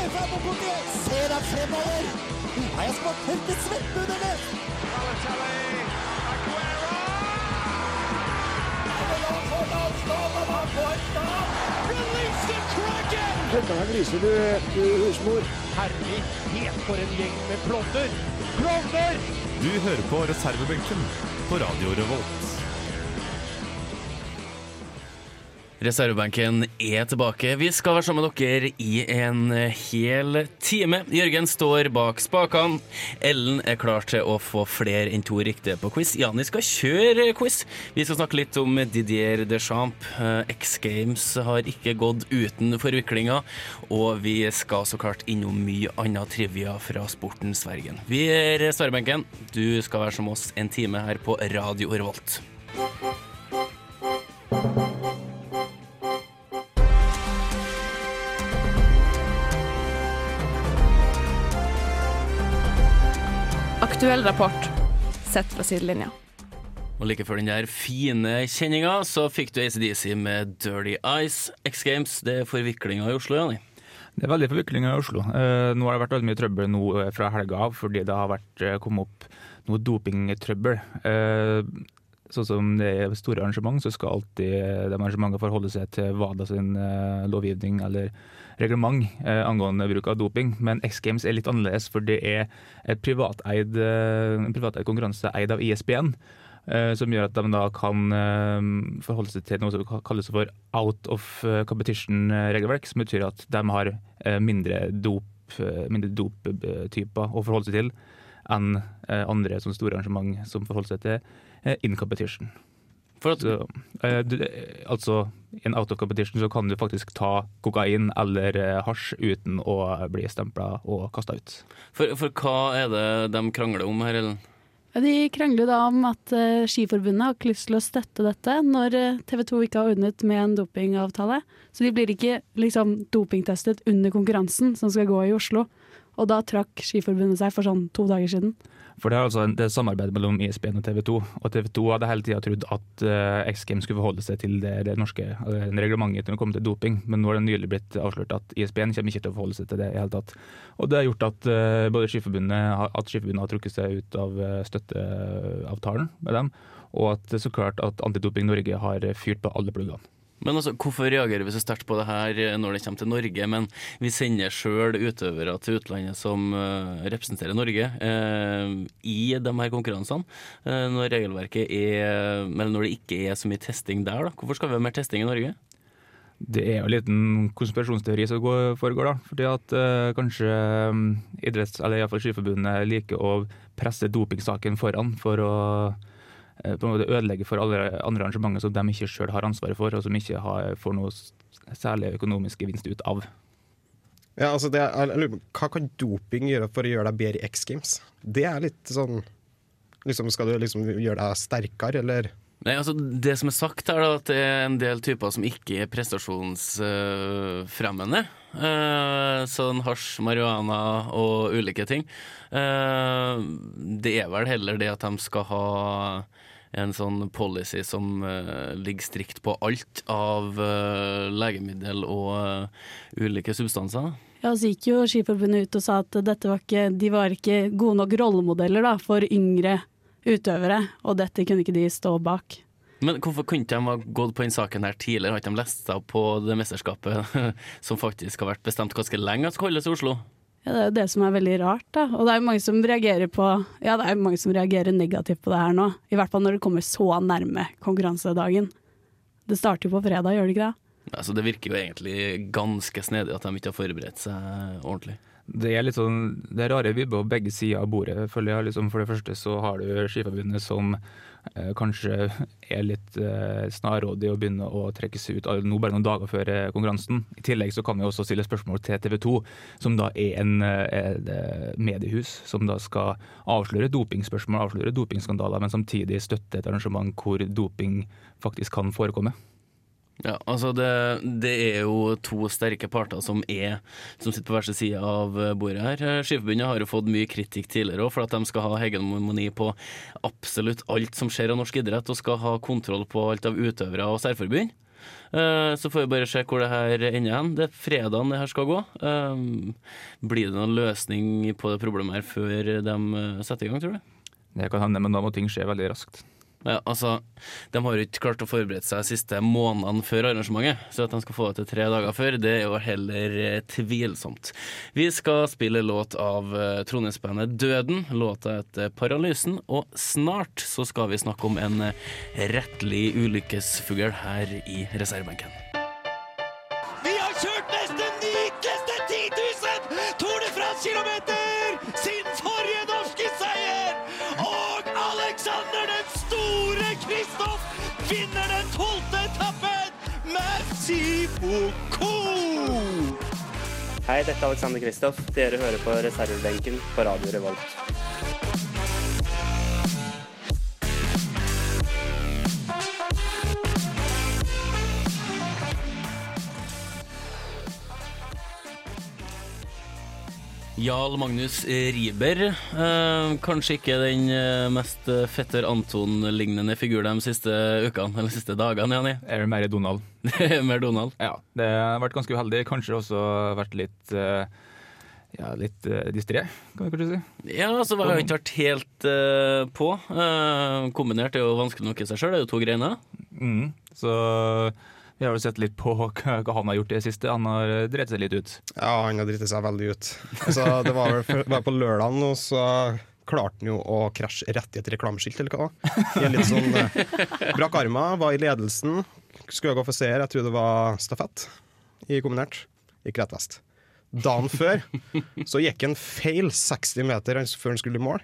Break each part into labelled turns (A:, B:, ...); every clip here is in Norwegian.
A: tilbake. Se deg fremover. Nå har jeg spart tørket svetten under det.
B: Dette er griser, du, du husmor.
C: Herlighet, for en gjeng med klovner! Klovner!
D: Du hører på reservebenken på Radio Revolt.
E: Reservebenken er tilbake. Vi skal være sammen med dere i en hel time. Jørgen står bak spakene. Ellen er klar til å få flere enn to riktige på quiz. Jani skal kjøre quiz. Vi skal snakke litt om Didier Deschamps. Eh, X Games har ikke gått uten forviklinger. Og vi skal så klart innom mye annet trivia fra sportens verden. Vi er reservebenken. Du skal være som oss en time her på Radio Revolt.
F: Aktuell rapport sett fra sidelinja.
E: Og like før den der fine kjenninga, så fikk du ACDC med Dirty Eyes. X Games, det er forviklinga i Oslo, Jani.
G: Det er veldig forviklinger i Oslo. Eh, nå har det vært veldig mye trøbbel nå eh, fra helga av, fordi det har vært, eh, kommet opp noe dopingtrøbbel. Eh, sånn som det er store arrangement, så skal alltid eh, de arrangementene forholde seg til WADA sin eh, lovgivning eller reglement eh, angående bruk av doping. Men X Games er litt annerledes, for det er et privateid, eh, en privateid konkurranse eid av E ISBN. eh, Som gjør at de da kan eh, forholde seg til noe som kalles for out of eh, competition-regelverk. Som betyr at de har eh, mindre dop eh, mindre doptyper å forholde seg til enn eh, andre sånne store arrangement som forholder seg til eh, in competition.
E: For at,
G: Så, eh, du, altså, i en out of competition så kan du faktisk ta kokain eller eh, hasj uten å bli stempla og kasta ut.
E: for, for hva er det de krangler om her, Ellen?
F: Ja, De krangler jo da om at eh, Skiforbundet har ikke lyst til å støtte dette når eh, TV 2 ikke har ordnet med en dopingavtale. Så de blir ikke liksom dopingtestet under konkurransen som skal gå i Oslo. Og da trakk Skiforbundet seg for sånn to dager siden.
G: For det er altså en, det er samarbeid mellom ISBN og TV 2. Og TV 2 hadde hele tida trodd at eh, X Games skulle forholde seg til det, det norske eh, reglementet når det kommer til doping, men nå har det nylig blitt avslørt at E ISBN kommer ikke til å forholde seg til det i hele tatt. Og det har gjort at eh, både Skiforbundet, har- at Skiforbundet har trukket seg ut av eh, støtteavtalen med dem, og at eh, så klart at Antidoping Norge har eh, fyrt på alle pluggene.
E: Men altså, Hvorfor reagerer vi så sterkt på det her når det kommer til Norge, men vi sender sjøl utøvere til utlandet som eh, representerer Norge eh, i de her konkurransene, eh, når regelverket er Eller når det ikke er så mye testing der, da? Hvorfor skal vi ha mer testing i Norge?
G: Det er jo en liten konspirasjonsteori som går, foregår, da. Fordi at eh, kanskje mm, idretts- eller i hvert fall Skiforbundet liker å presse dopingsaken foran for å eh, på en måte ødelegge for alle andre arrangementer som de ikke sjøl har ansvaret for, og som ikke har, får noe s- særlig økonomisk gevinst ut av.
H: Ja, altså det er, jeg lurer på, hva kan doping gjøre for å gjøre deg bedre i X Games? Det er litt sånn liksom, Skal du liksom gjøre deg sterkere, eller?
E: Nei, altså Det som er sagt, er da at det er en del typer som ikke er prestasjonsfremmende. Uh, sånn hasj, marihuana og ulike ting. Eh, det er vel heller det at de skal ha en sånn policy som eh, ligger strikt på alt av eh, legemiddel og eh, ulike substanser.
F: Ja, så gikk jo Skiforbundet ut og sa at dette var ikke, de var ikke gode nok rollemodeller da, for yngre utøvere, og dette kunne ikke de stå bak.
E: Men hvorfor kunne ikke de ha gått på den saken her tidligere? Har ikke de lest seg opp på det mesterskapet som faktisk har vært bestemt ganske lenge at skal holdes i Oslo?
F: Ja, det er jo det som er veldig rart, da. Og det er jo mange som reagerer på Ja, det er jo mange som reagerer negativt på det her nå. I hvert fall når det kommer så nærme konkurransedagen. Det starter jo på fredag, gjør det ikke det?
E: Altså, det virker jo egentlig ganske snedig at de ikke har forberedt seg ordentlig.
G: Det er litt sånn, det er rare vibber på begge sider av bordet, føler jeg. Liksom, for det første så har du Skiforbundet som eh, kanskje er litt eh, snarrådig og begynner å trekke seg ut av- nå bare noen dager før eh, konkurransen. I tillegg så kan vi også stille spørsmål til TV 2, som da er en, eh, et eh, mediehus som da skal avsløre dopingspørsmål, avsløre dopingskandaler, men samtidig støtte et arrangement hvor doping faktisk kan forekomme.
E: Ja, altså det, det er jo to sterke parter som er Som sitter på hver sin side av bordet her. Eh, Skiforbundet har jo fått mye kritikk tidligere også for at de skal ha hegemoni på absolutt alt som skjer av norsk idrett, og skal ha kontroll på alt av utøvere og særforbund. Eh, Så får vi bare se hvor det her ender hen. Det er fredagen det her skal gå. Eh, Blir det noen løsning på det problemet her før de eh, setter i gang, tror du?
G: Det kan hende, men da må ting skje veldig raskt.
E: Ja, altså, De har jo ikke klart å forberede seg de siste månedene før arrangementet, så at de skal få det til tre dager før, det er jo heller eh, tvilsomt. Vi skal spille låt av eh, trondheimsbandet Døden. Låta heter Paralysen, og snart så skal vi snakke om en eh, rettelig ulykkesfugl her i reservebenken.
A: Vi har kjørt nesten nyeste 10 000 Tour de France-kilometer siden forrige norske seier! Og Alexander den store Kristoff vinner den tolvte etappen med Siboko!
I: Hei, dette er Alexander Kristoff. Dere hører på reservebenken på Radio Revolt.
E: Jarl Magnus Riiber. Eh, kanskje ikke den eh, mest fetter Anton-lignende figur de siste ukene, eller siste dagene, Jani.
G: Eller mer Donald.
E: Det er Mer Donald.
G: Ja, det har vært ganske uheldig. Kanskje også vært litt eh, ja, litt eh, distré, kan vi kanskje si.
E: Ja, altså, jeg har ikke vært helt eh, på. Eh, kombinert er jo vanskelig nok i seg sjøl, det er jo to greiner.
G: Mm. Så vi har jo sett litt på hva hva han har gjort i det siste. Han har eh, drevet seg litt ut.
H: Ja, han har dritt seg veldig ut. Så det var vel for, var på lørdagen, og så klarte han jo å krasje rett i et reklameskilt, eller hva? det var. I en litt sånn eh, Brakk armen, var i ledelsen. Skulle gå for seier, jeg tror det var stafett i kombinert. Gikk rett vest. Dagen før så gikk han feil 60 meter før han skulle i mål.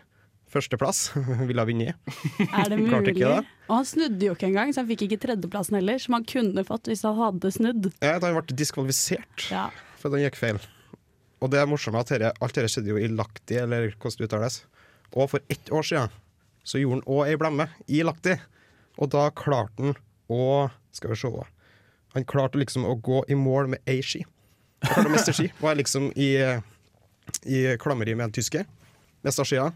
H: Førsteplass ville ha vunnet.
F: Er det
H: Klarte
F: mulig?
H: ikke det.
F: Og han snudde jo ikke engang, så han fikk ikke tredjeplassen heller, som han kunne fått hvis han hadde snudd.
H: Jeg vet, Han ble diskvalifisert.
F: Ja.
H: For den gikk feil. Og det er morsomme at dette, alt dette skjedde jo i Lahti, eller hvordan det uttales. Og for ett år siden så gjorde han òg ei blemme i Lahti. Og da klarte han å Skal vi se Han klarte liksom å gå i mål med ei ski. Han klarte å miste ski. Var liksom i, i klammeri med en tysker. Mista skia.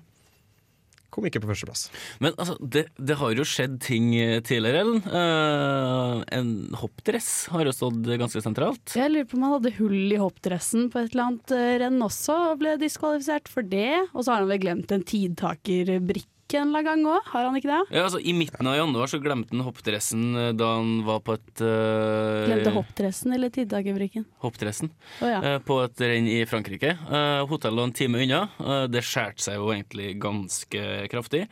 H: Kom ikke på førsteplass.
E: Men altså, det, det har jo skjedd ting eh, tidligere, Ellen. Eh, en hoppdress har jo stått ganske sentralt.
F: Jeg lurer på om han hadde hull i hoppdressen på et eller annet eh, renn også, og ble diskvalifisert for det. Og så har han vel glemt en tidtakerbrikke en eller annen gang òg, har han ikke det?
E: Ja, altså, I midten av januar så glemte han hoppdressen eh, da han var på et eh,
F: Glemte hoppdressen eller tidtakerbrikken?
E: hoppdressen.
F: Å ja.
E: eh, på et renn i Frankrike. Eh, Hotellet lå en time unna. Eh, Det skjærte seg jo egentlig ganske kraftig.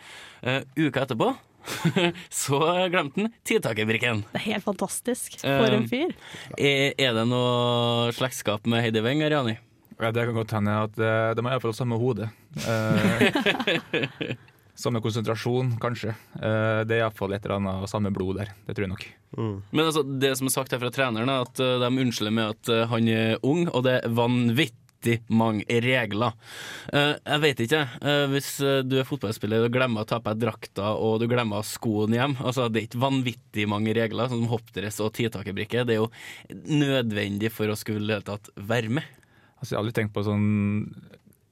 E: Eh, Uka etterpå så glemte han tidtakerbrikken.
F: Det er helt fantastisk. For
E: Eh,
F: en fyr.
E: Er er det noe slektskap med Heidi Weng, Ariani?
G: Ja, det kan godt hende at eh, de har iallfall samme hode. Eh, samme konsentrasjon, kanskje. Eh, det er iallfall et eller annet og samme blod der. Det tror jeg nok.
E: Men altså, det som er sagt her fra treneren, er at eh, de unnskylder med at eh, han er ung, og det er vanvittig mange regler. Eh, Jeg vet ikke, eh, hvis eh, du er fotballspiller og glemmer å ta på deg drakta og du glemmer skoen hjem altså Det er ikke vanvittig mange regler, sånn som hoppdress og tidtakerbrikke. Det er jo nødvendig for å skulle i det hele tatt være med.
G: Altså, jeg har aldri tenkt på sånn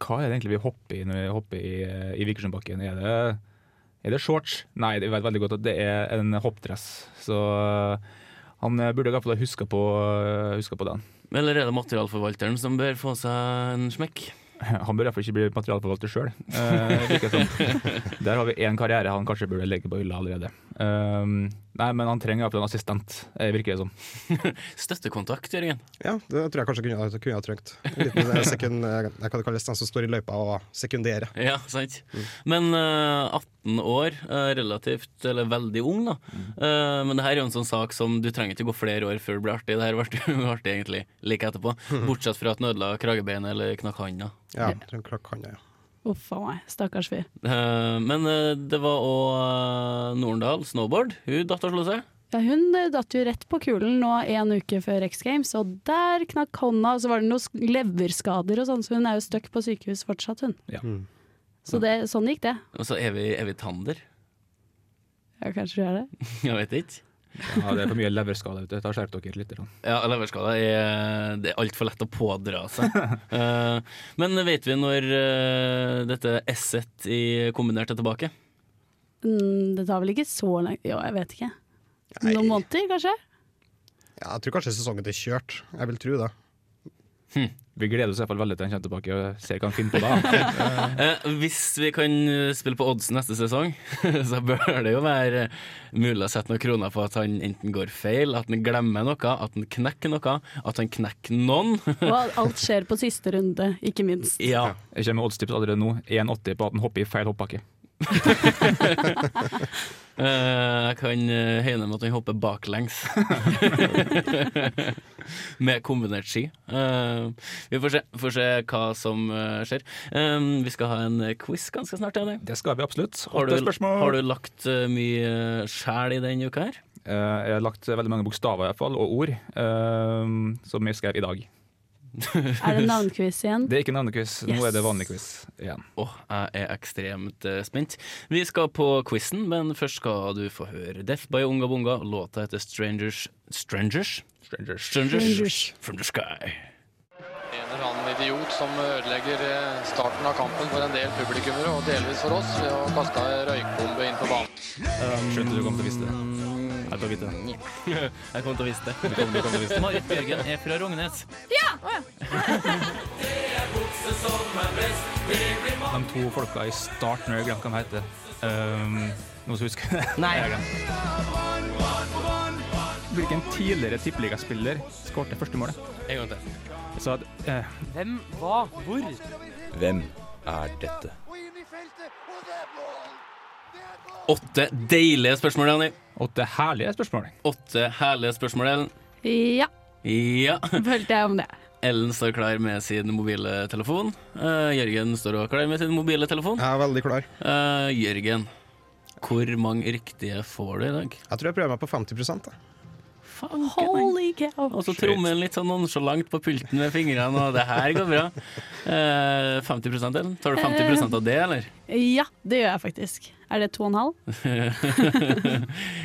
G: Hva er det egentlig vi hopper i når vi hopper i, eh, i Vikersundbakken? Er det, er det shorts? Nei, jeg vet veldig godt at det er en hoppdress. Så eh, han eh, burde iallfall ha huska på, huska på den.
E: Eller er det materialforvalteren som bør få seg en smekk?
G: Han bør iallfall ikke bli materialforvalter eh, sjøl. Der har vi én karriere han kanskje burde legge på hylla allerede. Eh, nei, men han trenger iallfall en assistent, eh, virker det som.
E: Støttekontakt, Jørgen.
H: Ja, det tror jeg kanskje kunne, ha- kunne ha trengt. En liten eh, sekund, eh, hva det kalles, den som står i løypa og sekunderer.
E: Ja, sant. Men eh, 18 år, eh, relativt, eller veldig ung, da. Eh, men det her er jo en sånn sak som du trenger ikke gå flere år før det blir artig. Det her ble jo artig egentlig like etterpå. Bortsett fra at den ødela kragebeinet eller knakk handa.
H: Ja, den kan jeg, ja.
F: Uff a meg. Stakkars fyr.
E: Eh, men eh, det var òg Norendal, snowboard. Hun datt og slo seg.
F: Ja, hun eh, datt jo rett på kulen nå en uke før X Games, og der knakk hånda. Og så var det noen sk- leverskader og sånn, så hun er jo stuck på sykehus fortsatt, hun.
G: Ja.
F: Så det, sånn gikk det.
E: Og så er vi, er vi tander.
F: Ja, kanskje du er det.
E: Jeg vet ikke.
G: Ja, det er for mye leverskade, vet du. Ta skjerp dere litt. grann.
E: Ja, leverskada er Det er altfor lett å pådra seg. Eh, men vet vi når eh, dette esset i kombinert er tilbake?
F: Mm, det tar vel ikke så lang Jo, jeg vet ikke. Noen måneder, kanskje?
H: Ja, jeg tror kanskje sesongen er kjørt. Jeg vil tro det.
G: Vi gleder oss i hvert fall veldig til han kommer tilbake og ser hva han finner på da.
E: Eh, hvis vi kan eh, spille på odds neste sesong, så bør det jo være eh, mulig å sette noen kroner på at han enten går feil, at han glemmer noe, at han knekker noe, at han knekker noen.
F: Og alt skjer på siste runde, ikke minst.
E: ja.
G: Jeg kommer med oddstips allerede nå. 1,80 på at han hopper i feil hoppbakke.
E: Eh, jeg kan eh, høyne med at han hopper baklengs. med kombinert ski. Eh, vi får se, får se hva som eh, skjer. Eh, vi skal ha en quiz ganske snart. Enig.
G: Det skal vi absolutt.
E: Har,
G: Åtte
E: du,
G: spørsmål.
E: har du lagt eh, mye sjel i denne uka her?
G: Eh, jeg har lagt veldig mange bokstaver i hvert fall, og ord, eh, som jeg skrev i dag.
F: Er det navnquiz igjen?
G: Det er ikke navnequiz, nå er det
F: Yes.
G: vanlig quiz igjen.
E: Åh, jeg er ekstremt eh, spent. Vi skal på quizen, men først skal du få høre Death by Unga Bunga. Låta heter Strangers Strangers? Strangers. Strangers.
F: Strangers.
E: From the sky.
J: En eller annen idiot som ødelegger eh, starten av kampen for en del publikummere, og delvis for oss, ved å kaste ei røykbombe inn på banen.
G: Skjønte du kom til å vise det. Jeg tar vite
E: Jeg
G: det.
E: Mm. kommer til å vise det. Marit Bjørgen er fra Rognes.
G: De to folka i starten, jeg glemte hva de heter. Eh, noen som husker det?
E: Nei.
G: Jeg har glemt. Hvilken tidligere tippeligaspiller skåret første målet?
E: En gang til.
G: Jeg sa at eh,
I: Hvem, hva, hvor?
E: Åtte deilige spørsmål, Janni.
G: åtte herlige spørsmål.
E: Åtte herlige spørsmål, Ellen.
F: Ja,
E: Ja.
F: følte jeg om det.
E: Ellen står klar med sin mobile telefon. Eh, Jørgen står også klar med sin mobile telefon.
H: Jeg er veldig klar.
E: Eh, Jørgen, hvor mange riktige får du i dag?
H: Jeg tror jeg prøver meg på 50 da.
E: Fanken, Henk.
F: Holy cow.
E: Og så trommer han litt sånn nonchalant på pulten med fingrene, og det her går bra. Eh, 50 Ellen? Tar du 50 av det, eller?
F: Ja, det gjør jeg faktisk. Er det to og en halv?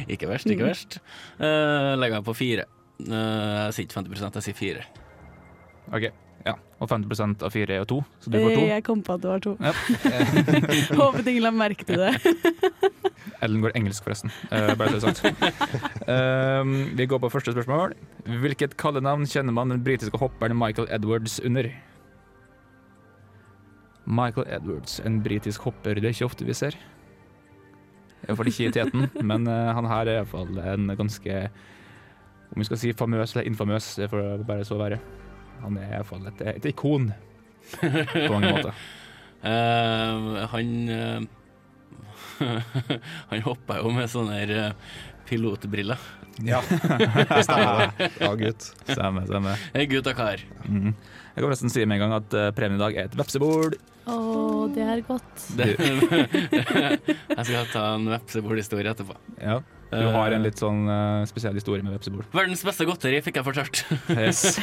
E: ikke verst, ikke verst. Eh, legger meg på fire. Eh, jeg sier ikke 50 jeg sier fire.
G: Ok, ja. Og 50 av fire er jo to, så du får to. Eh,
F: Jeg kom på at det var to.
G: Ja.
F: Håpet ingen la merke til det.
G: Ellen går engelsk, forresten. Eh, bare så det er sagt. Eh, vi går på første spørsmål. Hvilket kallenavn kjenner man den britiske hopperen Michael Edwards under? Michael Edwards, en britisk hopper det er ikke ofte vi ser. Iallfall ikke i teten, men eh, han her er iallfall en ganske Om vi skal si famøs eller infamøs, det får bare så være. Han er iallfall et, et ikon på mange måter.
E: Eh, han eh, Han hoppa jo med sånne her, eh, pilotbriller.
H: Ja, det stemmer det. Ja, gutt.
G: Stemmer, stemmer.
E: Eh, Gutt og kar.
G: Mhm. Jeg kan forresten si med en gang at eh, premien i dag er et vepsebol.
F: Å, det er godt.
E: Det, jeg skal ta en vepsebordhistorie etterpå.
G: Ja. Du har en litt sånn eh, spesiell historie med vepsebol.
E: Eh, Verdens beste godteri fikk jeg fortalt.
G: Yes.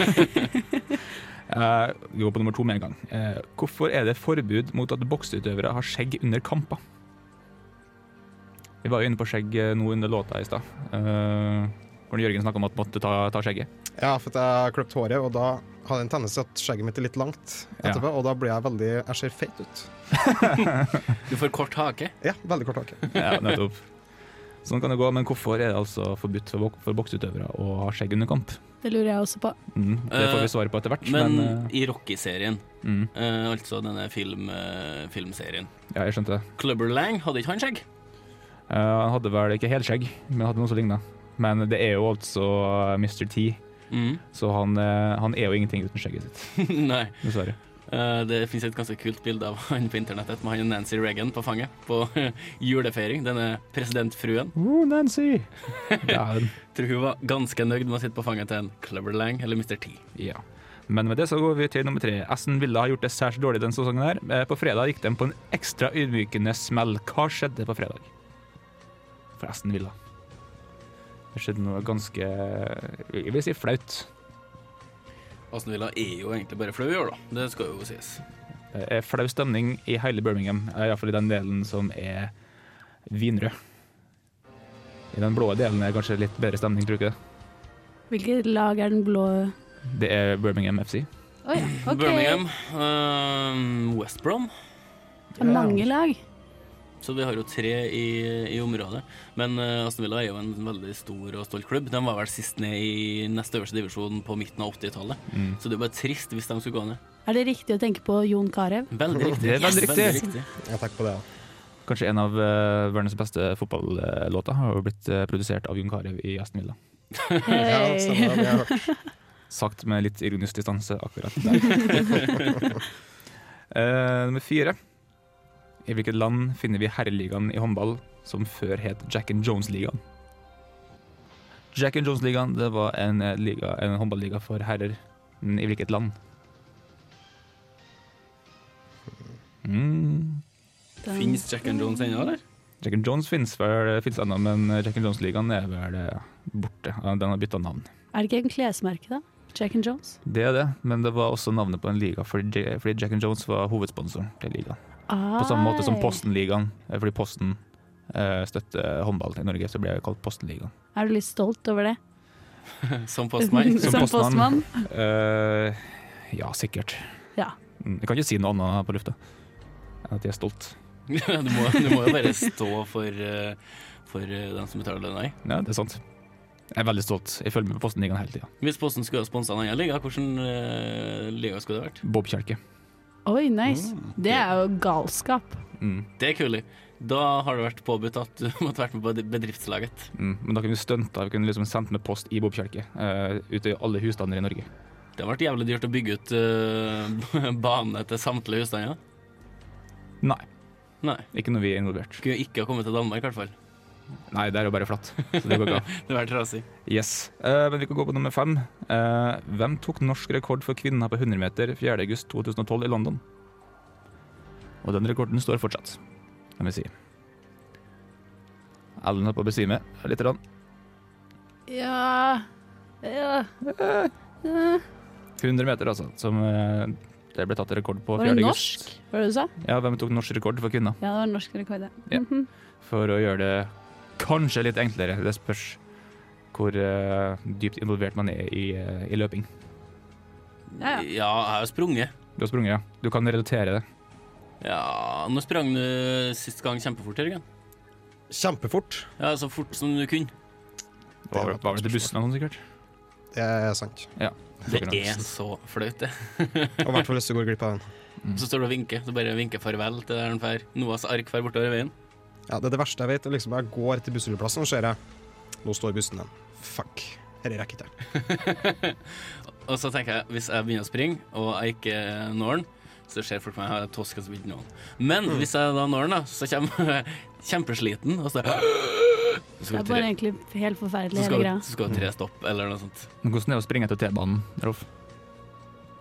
G: Eh, vi går på nummer to med en gang. Eh, hvorfor er det forbud mot at bokseutøvere har skjegg under kamper? Vi var jo inne på skjegg eh, nå under låta i stad. Eh, hvor Jørgen snakka om at måtte ta, ta skjegget.
H: Ja, for at jeg har kløpt håret, og da hadde jeg en tendens til at skjegget mitt er litt langt etterpå, og da blir jeg veldig Jeg ser feit ut.
E: Du får kort hake.
H: Ja, veldig kort hake.
G: Ja, nettopp. Sånn kan det gå, men hvorfor er det altså forbudt for, bok for bokseutøvere å ha skjegg under kamp?
F: Det lurer jeg også på.
G: Mm, det får
E: Eh,
G: vi svar på etter hvert,
E: Men eh,
G: men,
E: i Rocky-serien,
G: eh, mm,
E: eh, altså denne film, eh, filmserien
G: Ja, jeg skjønte det.
E: Clubber Lang, hadde ikke han skjegg?
G: Eh, han hadde vel ikke helskjegg, men hadde noe som ligna. Men det er jo altså eh, Mr. T,
E: Mm.
G: så han, eh, han er jo ingenting uten skjegget sitt,
E: Nei.
G: dessverre.
E: Eh, det fins et ganske kult bilde av han på internettet med han og Nancy Reagan på fanget på julefeiring. Denne presidentfruen.
G: Oh, Nancy! Ja, den.
E: Tror hun var ganske nøyd med å sitte på fanget til en Clubber Lang eller Mr. T.
G: ja. Men med det så går vi til nummer tre. Essen ville ha gjort det særs dårlig denne sesongen. her. Eh, På fredag gikk de på en ekstra ydmykende smell. Hva skjedde på fredag? For Essen Villa. Det skjedde noe ganske Jeg vil si flaut.
E: Aston Villa er jo egentlig bare flau i år, da. Det skal jo sies.
G: Det Eh, er flau stemning i hele Birmingham, iallfall i den delen som er vinrød. I den blå delen er det kanskje litt bedre stemning, tror du ikke det?
F: Hvilket lag er den blå
G: Det er Birmingham FC.
F: Oi, ok.
E: Birmingham, eh, West Brom
F: Det er mange lag.
E: så vi har jo tre i, i området. Men eh, Aston Villa er jo en veldig stor og stolt klubb. De var vel sist ned i nest øverste divisjon på midten av 80-tallet.
G: Mm.
E: Så det er jo bare trist hvis de skulle gå ned.
F: Er det riktig å tenke på Jon Carew?
E: Veldig riktig.
G: Det er veldig riktig.
H: Ja, takk på det. ja.
G: Kanskje en av eh, verdens beste fotballåter har jo blitt eh, produsert av Jon Carew i Aston Villa.
H: Ja, stemmer det. det har jeg hørt.
G: Sagt med litt ironisk distanse akkurat der. Eh, nummer fire. I hvilket land finner vi herreligaen i håndball som før het Jack and Jones-ligaen? Jack and Jones-ligaen det var en, eh, liga- en håndballiga for herrer. Men i hvilket land? Mm.
E: Fins Jack and Jones ennå, eller?
G: Jack and Jones finnes vel finnes ennå, men Jack and Jones-ligaen er vel eh, borte. Ja, Den har bytta navn.
F: Er det ikke en klesmerke, da? Jack and Jones?
G: Det er det, men det var også navnet på en liga fordi J- fordi Jack and Jones var hovedsponsoren til ligaen. På samme måte som
F: Ai.
G: Posten-ligaen, eh, fordi Posten eh, støtter håndball i Norge, så ble det kalt Posten-ligaen.
F: Er du litt stolt over det?
E: Som postmann.
G: Som
F: Som
G: postmann.
F: postmann?
G: Eh, ja, sikkert.
F: Ja.
G: Mm, Jeg kan ikke si noe annet her på lufta enn at jeg er stolt.
E: Ja, du, må, du må jo bare stå for, eh, for eh, den som betaler lønna. i.
G: Ja, det er sant. Jeg er veldig stolt. Jeg følger med på Posten-ligaen hele tida.
E: Hvis Posten skulle ha sponsa en annen liga, hvilken eh, liga skulle det vært?
G: Bob Kjelke.
F: Oi, nice. Det er jo galskap.
G: Mm,
E: Det er kult. Da har det vært påbudt at du måtte vært med på bedriftslaget.
G: mm. Men da kunne vi stunta. Vi kunne liksom sendt med post i Bob Kjelke eh, ute i alle husstander i Norge.
E: Det har vært jævlig dyrt å bygge ut eh, bane til samtlige husstander.
G: Nei,
E: Nei.
G: ikke når vi er involvert.
E: Skulle ikke ha kommet til Danmark, i hvert fall.
G: Nei, det er jo bare flatt, så det går bra.
E: Det har vært trasig.
G: Yes. Eh, men vi kan gå på nummer fem. Eh, hvem tok norsk rekord for kvinner på 100 meter 4.8.2012 i London? Og den rekorden står fortsatt, kan vi si. Ellen holdt på å besvime litt. Rann.
F: Ja, ja.
G: 100 meter, altså, som eh, det ble tatt rekord på.
F: Var det
G: 4.
F: norsk?
G: august.
F: Var det du sa?
G: Ja, hvem tok norsk rekord for kvinner?
F: Ja, det var norsk rekord, ja.
G: Ja.
F: Mhm.
G: For å gjøre det kanskje litt enklere. Det spørs hvor eh, dypt involvert man er i, eh, i løping.
F: Ja,
E: Ja,
F: ja.
E: jeg har jo sprunget.
G: Du har sprunget, ja. Du kan relatere det.
E: Ja, nå sprang du sist gang kjempefort, Jørgen.
H: Kjempefort.
E: Ja, så fort som du kunne.
G: Det var, var vel til bussen eller noe, sikkert.
H: Det er sant.
E: Det er så flaut, det.
H: Og i hvert fall hvis du går glipp av den.
E: Så står du og vinker. Så bare vinker farvel til der den fer. Noas ark fer bortover i veien.
H: Ja, det er det verste jeg vet. er Liksom, jeg går til bussholdeplassen og ser jeg Nå står bussen igjen. Fuck. Dette rekker jeg ikke.
E: Og så tenker jeg, hvis jeg begynner å springe, og jeg ikke når den, så ser folk på meg at toska som ikke noen. Men hvis jeg da når den, da, så kommer jeg kjempesliten, og så Så
F: Det
E: skal
F: er
E: det
F: bare
E: tre,
F: egentlig helt forferdelig,
E: så
F: hele
E: skal, det-
F: greia.
E: så skal det tre stopp, eller noe sånt.
G: Men hvordan er det å springe etter T-banen, Rolf?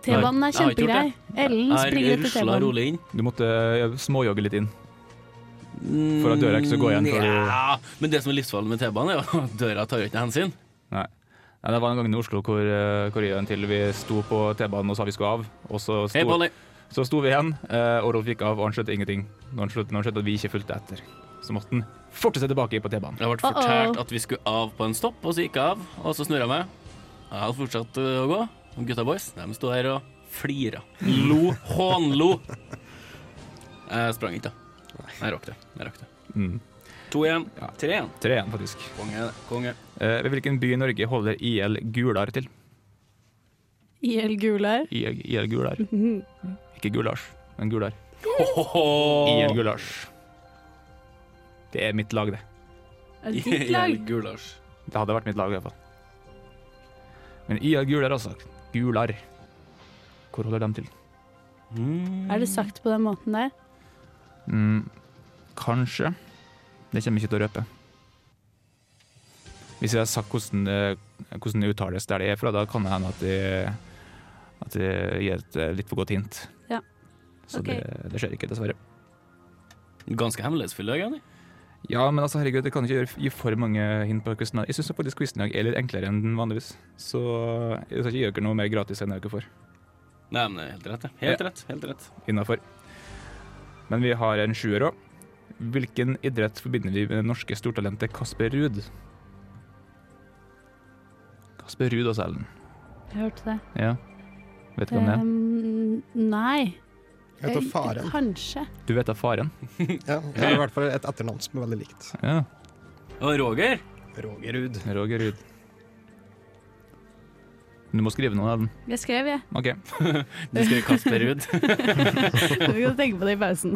F: T-banen
E: Jeg har
F: er
E: ikke gjort
F: kjempegrei. Ellen springer
E: Jeg
F: etter
E: rusla
F: T-banen.
E: rolig inn.
G: Du måtte eh, småjogge litt inn. For at døra ikke skal gå igjen før du-
E: Ja, men det som er livsfarlig med T-banen, er jo at døra tar jo ikke noe hensyn.
G: Nei. Nei, det var en gang i Oslo hvor, eh, hvor jeg og en til vi sto på T-banen og sa vi skulle av. Og så sto,
E: Hei, Polly.
G: så sto vi igjen, eh, og Rolf gikk av, og han skjønte ingenting. Når han skjønte, når han skjønte at vi ikke fulgte etter, så måtte han forte seg tilbake på T-banen.
E: Jeg ble
F: Uh-oh.
E: fortalt at vi skulle av på en stopp, og så gikk jeg av. Og så snurra jeg meg. Jeg hadde fortsatt øh, å gå. Og gutta boys de sto her og flira. Lo. Hånlo. Jeg sprang ikke, da. Jeg rakk det. Jeg rakk det.
G: Mm.
E: To igjen.
G: Ja.
E: Tre igjen.
G: Tre igjen, faktisk.
E: Konge. Konge.
G: Eh, ved hvilken by i Norge holder IL Gular til?
F: IL Gular.
G: IL, IL Gular. Ikke Gulasj, men Gular. IL
E: Ohoho.
G: Gulasj. Det er mitt lag, det.
F: Er det ditt
E: IL
F: lag?
E: Gulasj.
G: Det hadde vært mitt lag i hvert fall. Men IL Gular, altså. Gular. Hvor holder de til?
F: Er det sagt på den måten der?
G: Mm, kanskje. Det kommer ikke til å røpe. Hvis jeg har sagt hvordan det, hvordan det uttales der det er fra, da kan det hende at jeg, at jeg gir et eh, litt for godt hint.
F: Ja.
G: Så
F: Ok.
G: det, det skjer ikke, dessverre.
E: Ganske hemmelighetsfull dag, Jenny.
G: Ja, men altså, herregud, jeg kan ikke gjøre, gi for mange hint på quizen. Jeg syns faktisk quizen i dag er litt enklere enn den vanligvis. Så jeg skal ikke gjøre dere noe mer gratis enn dere får.
E: Nei, men det er helt rett, det. Helt rett. Helt rett.
G: innafor. Men vi har en sjuer òg. Hvilken idrett forbinder vi med det norske stortalentet Kasper Ruud? Kasper Ruud, altså, Ellen.
F: Jeg hørte det.
G: Ja. Vet du hvem det er?
F: Um, nei.
H: Jeg heter Faren.
F: Kanskje.
G: Du vet da faren?
H: Ja, jeg har i hvert fall et etternavn som er veldig likt.
G: Ja.
E: Og Roger?
H: Roger Ruud.
G: Roger Ruud. Du må skrive noe, Ellen.
F: Jeg skrev, jeg.
G: OK.
E: Du skriver Kasper Ruud.
F: Du kan tenke på det i pausen.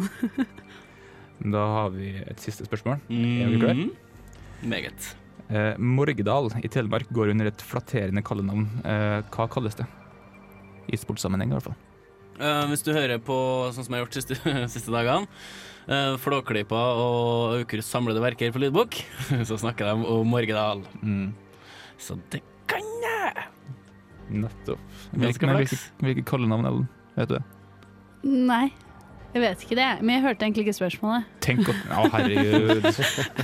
G: Da har vi et siste spørsmål. Er du klar?
E: Mm. Meget.
G: Eh, Morgedal i Telemark går under et flatterende kallenavn. Eh, hva kalles det? I sportssammenheng, i hvert fall.
E: Eh, hvis du hører på sånn som jeg har gjort siste, siste dagene, uh, Flåklypa og Aukrusts samlede verker på lydbok, så snakker de om Morgedal.
G: Mm.
E: Så det kan jeg!
G: Nettopp.
E: Ganske
G: Hvilke, hvilke,
E: flaks.
G: hvilke kallenavn, Ellen? Vet du det?
F: Nei, jeg vet ikke det. Men jeg hørte egentlig ikke spørsmålet.
G: Tenk at Å, herregud.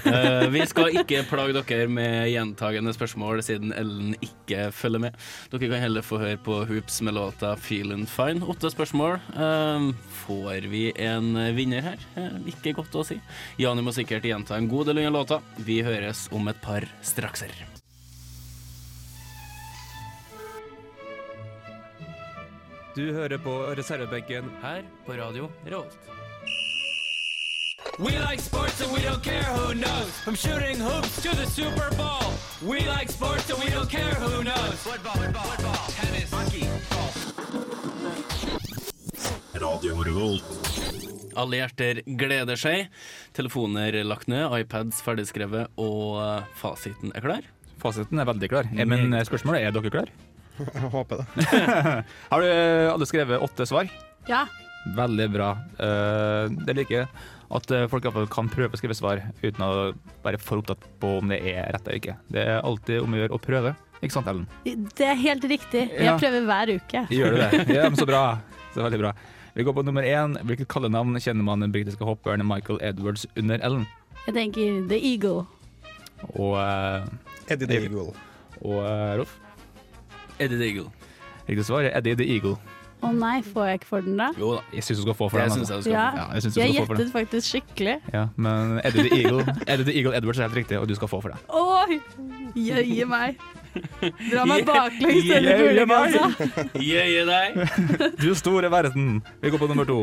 E: Eh, vi skal ikke plage dere med gjentagende spørsmål siden Ellen ikke følger med. Dere kan heller få høre på Hoops med låta 'Feelin' Fine'. Åtte spørsmål. Eh, får vi en vinner her? Eh, ikke godt å si. Jani må sikkert gjenta en god del under låta. Vi høres om et par strakser.
K: Du hører på reservebenken.
E: Her på Radio Revolt.
K: We like sports and we don't care who knows. From shooting hoops to the Super Bowl. We like sports and we don't care who knows. Football, football, football. tennis, hockey, golf.
E: Alle hjerter gleder seg. Telefoner lagt ned, iPads ferdigskrevet, og eh, fasiten er klar.
G: Fasiten er veldig klar. Eh, Men spørsmålet er er dere klare?
H: Jeg håper det.
G: Har du eh, alle skrevet åtte svar?
F: Ja.
G: Veldig bra. Eh, det liker jeg. At eh, folk i hvert fall kan prøve å skrive svar uten å være for opptatt på om det er rett eller ikke. Det er alltid om å gjøre å prøve. Ikke sant, Ellen?
F: Det er helt riktig.
G: Ja.
F: Jeg prøver hver uke.
G: Gjør du det? Ja, men så bra. Så veldig bra. Vi går på nummer én. Hvilket kallenavn kjenner man den britiske hopperen Michael Edwards under Ellen?
F: Jeg tenker The Eagle.
G: Og, eh,
H: Eddie the Eagle.
G: og eh, Rolf?
E: Eddie Diggle.
G: Riktig svar er Eddie the Eagle.
F: Å nei, får jeg ikke for den da?
E: Jo da,
G: Jeg syns du skal få for
E: det sånn
G: den.
E: syns
G: Altså.
E: jeg du skal
F: Ja.
E: få.
G: Ja, jeg synes du
F: Jeg
G: skal få for den.
F: gjettet faktisk skikkelig.
G: Ja, men Eddie the Eagle Eddie the Eagle Edwards er helt riktig, og du skal få for det.
F: Oi! Jøye meg. Dra meg baklengs denne
G: Jøye meg!
F: julegassa.
E: Jøye deg!
G: Du store verden! Vi går på nummer to.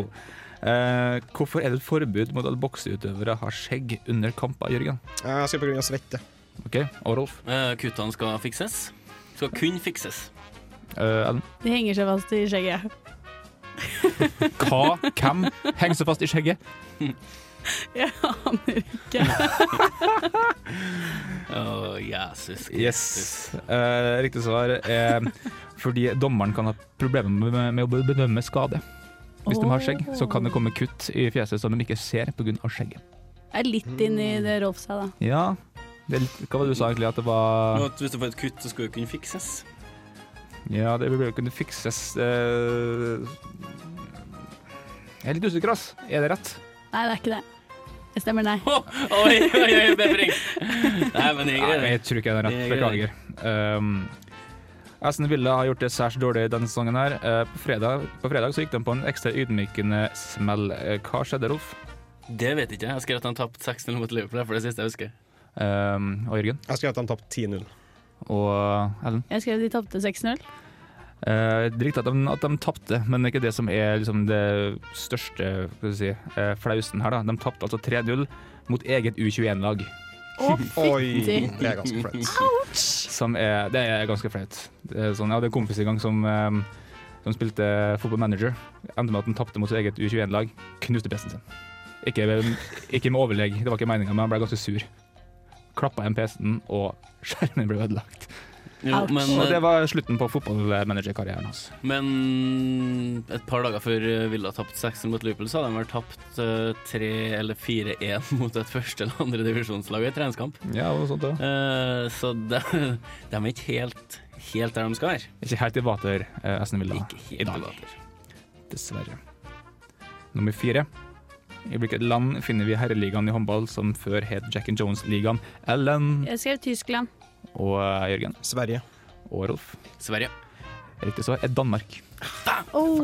G: Eh, hvorfor er det et forbud mot at bokseutøvere har skjegg under kamper, Jørgen?
H: Jeg skal på grunn av svette.
G: Ok, Og Rolf?
E: Eh, Kuttene skal fikses. Skal kun fikses.
G: Eh, Ellen?
F: Det henger seg fast i skjegget.
G: Hva? Hvem henger så fast i skjegget?
F: Jeg aner ikke.
E: Å, Jesus Kristus.
G: Yes. Eh, riktig svar er fordi dommeren kan ha problemer med, med å bedømme skade. Hvis de har skjegg, så kan det komme kutt i fjeset som de ikke ser pga. skjegget.
F: Jeg er litt inn i det Rolf sa, da.
G: Ja, det er litt, Hva var det du sa egentlig? At det var
E: Og at Hvis du får et kutt, så skal det kunne fikses.
G: Ja, det burde jo kunne fikses eh, Jeg er litt usikker, ass. Er det rett?
F: Nei, det er ikke det. Jeg stemmer nei.
E: Å, oi, oi, oi, bevring! Nei, men jeg
G: Nei,
E: greier det.
G: jeg tror ikke det er rett.
E: Jeg er
G: Beklager. Um, Aston Villa har gjort det særs dårlig denne sesongen. her. Eh, På fredag, på fredag så gikk de på en ekstra ydmykende smell. Eh, Hva skjedde, Rolf?
E: Det vet jeg ikke. Jeg skrev at han tapte 6-0 mot Liverpool. For det siste jeg husker.
G: Um, og Jørgen?
H: Jeg skrev at de tapte 10-0.
G: Og Ellen?
F: Jeg skrev de tapte 6-0.
G: Eh, det er riktig at de, at de tapte, men det er ikke det som er liksom, det største skal vi si, eh, flausen her. da. De tapte altså 3-0 mot eget U21-lag.
F: Å,
H: Oi!
F: fytti!
H: Det er ganske flaut.
G: Som er, det er ganske flaut. Det er Sånn, jeg hadde en kompis en gang som, eh, som spilte football manager. Endte med at han tapte mot sitt eget U21-lag. Knuste PC-en sin. Ikke, ikke med overlegg, det var ikke meninga, men han ble ganske sur. Klappa igjen PC-en, og skjermen ble ødelagt.
E: Jo,
F: Ouch.
E: men, eh,
G: Og det var slutten på fotballmanagerkarrieren hans.
E: men et par dager før eh, Villa tapte 6-0 mot Liverpool, så hadde de vel tapt eh, 3 eller 4-1 mot et første- eller andredivisjonslag i treningskamp.
G: Ja, og sånt da.
E: Eh, så de, de er ikke helt, helt der de skal være.
G: Ikke helt i vater, eh, Aston Villa.
E: Ikke
G: i
E: helt
G: dag.
E: privater.
G: Dessverre. Nummer fire. I hvilket land finner vi herreligaen i håndball som før het Jack and Jones-ligaen? Ellen
F: Jeg skrev Tyskland.
G: og eh, Jørgen
H: Sverige.
G: og Rolf.
E: Sverige.
G: Riktig svar er Danmark.
F: Oh,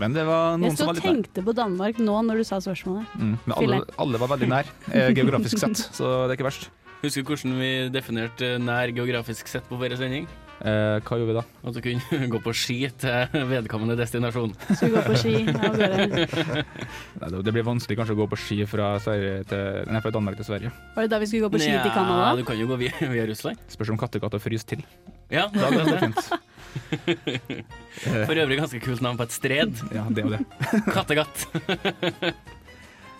G: Men Ah, det var
F: jeg
G: noen som
F: sto
G: var
F: og
G: litt nær.
F: tenkte på Danmark nå når du sa spørsmålet.
G: Mm, men alle,
F: Filler.
G: alle var veldig nær, eh, geografisk sett, så det er ikke verst.
E: Husker du hvordan vi definerte nær geografisk eh, sett på vår sending?
G: Eh, hva gjorde vi da?
E: At du kunne gå på ski til vedkommende destinasjon.
F: Skal vi gå på ski av gårde?
G: Nei, det- det blir vanskelig kanskje å gå på ski fra, Sverige til, nei, fra Danmark til Sverige.
F: Var det da vi skulle gå på ski
E: Nja,
F: til Canada?
E: Du kan jo gå via, via Russland.
G: Spørs om Kattekatta fryser til.
E: Ja,
G: Da
E: det
G: går det
E: er det.
G: fint.
E: For øvrig ganske kult navn på et stred.
G: Ja, det er jo det.
E: Kattegatt.